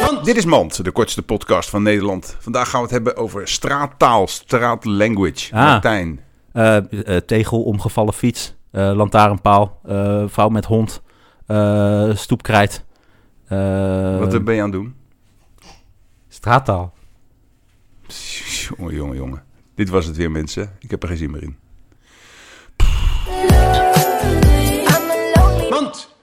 Want dit is Mand, de kortste podcast van Nederland. Vandaag gaan we het hebben over straattaal, straatlanguage, Ah. Latijn. Eh, eh, tegel, omgevallen fiets, eh, lantaarnpaal, eh, vrouw met hond, eh, stoepkrijt. eh, Wat eh, ben je aan het doen? straattaal. Jongen, jongen, jongen. Dit was het weer mensen. Ik heb er geen zin meer in.